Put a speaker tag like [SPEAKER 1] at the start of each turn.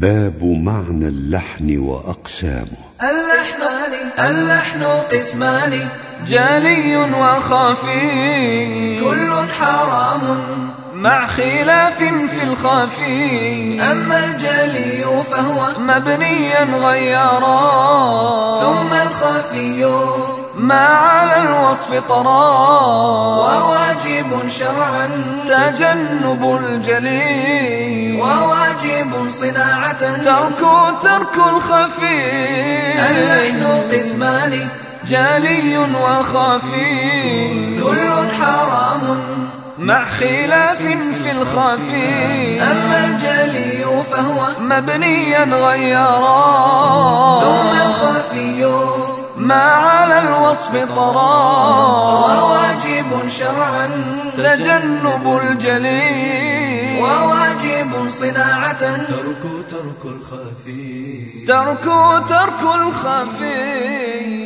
[SPEAKER 1] باب معنى اللحن وأقسامه
[SPEAKER 2] اللحن اللحن قسمان جلي وخفي كل حرام مع خلاف في الخفي أما الجلي فهو مبنيا غيرا ثم الخفي ما على الوصف طرا وواجب شرعا تجنب الجلي وواجب صناعة ترك ترك الخفي اللحن قسمان جلي وخفي كل حرام مع خلاف في الخفي أما الجلي فهو مبنيا غيرا ثم الخفي ما على الوصف طرا وواجب شرعا تجنب الجلي وواجب صناعة ترك ترك الخفي ترك ترك الخفي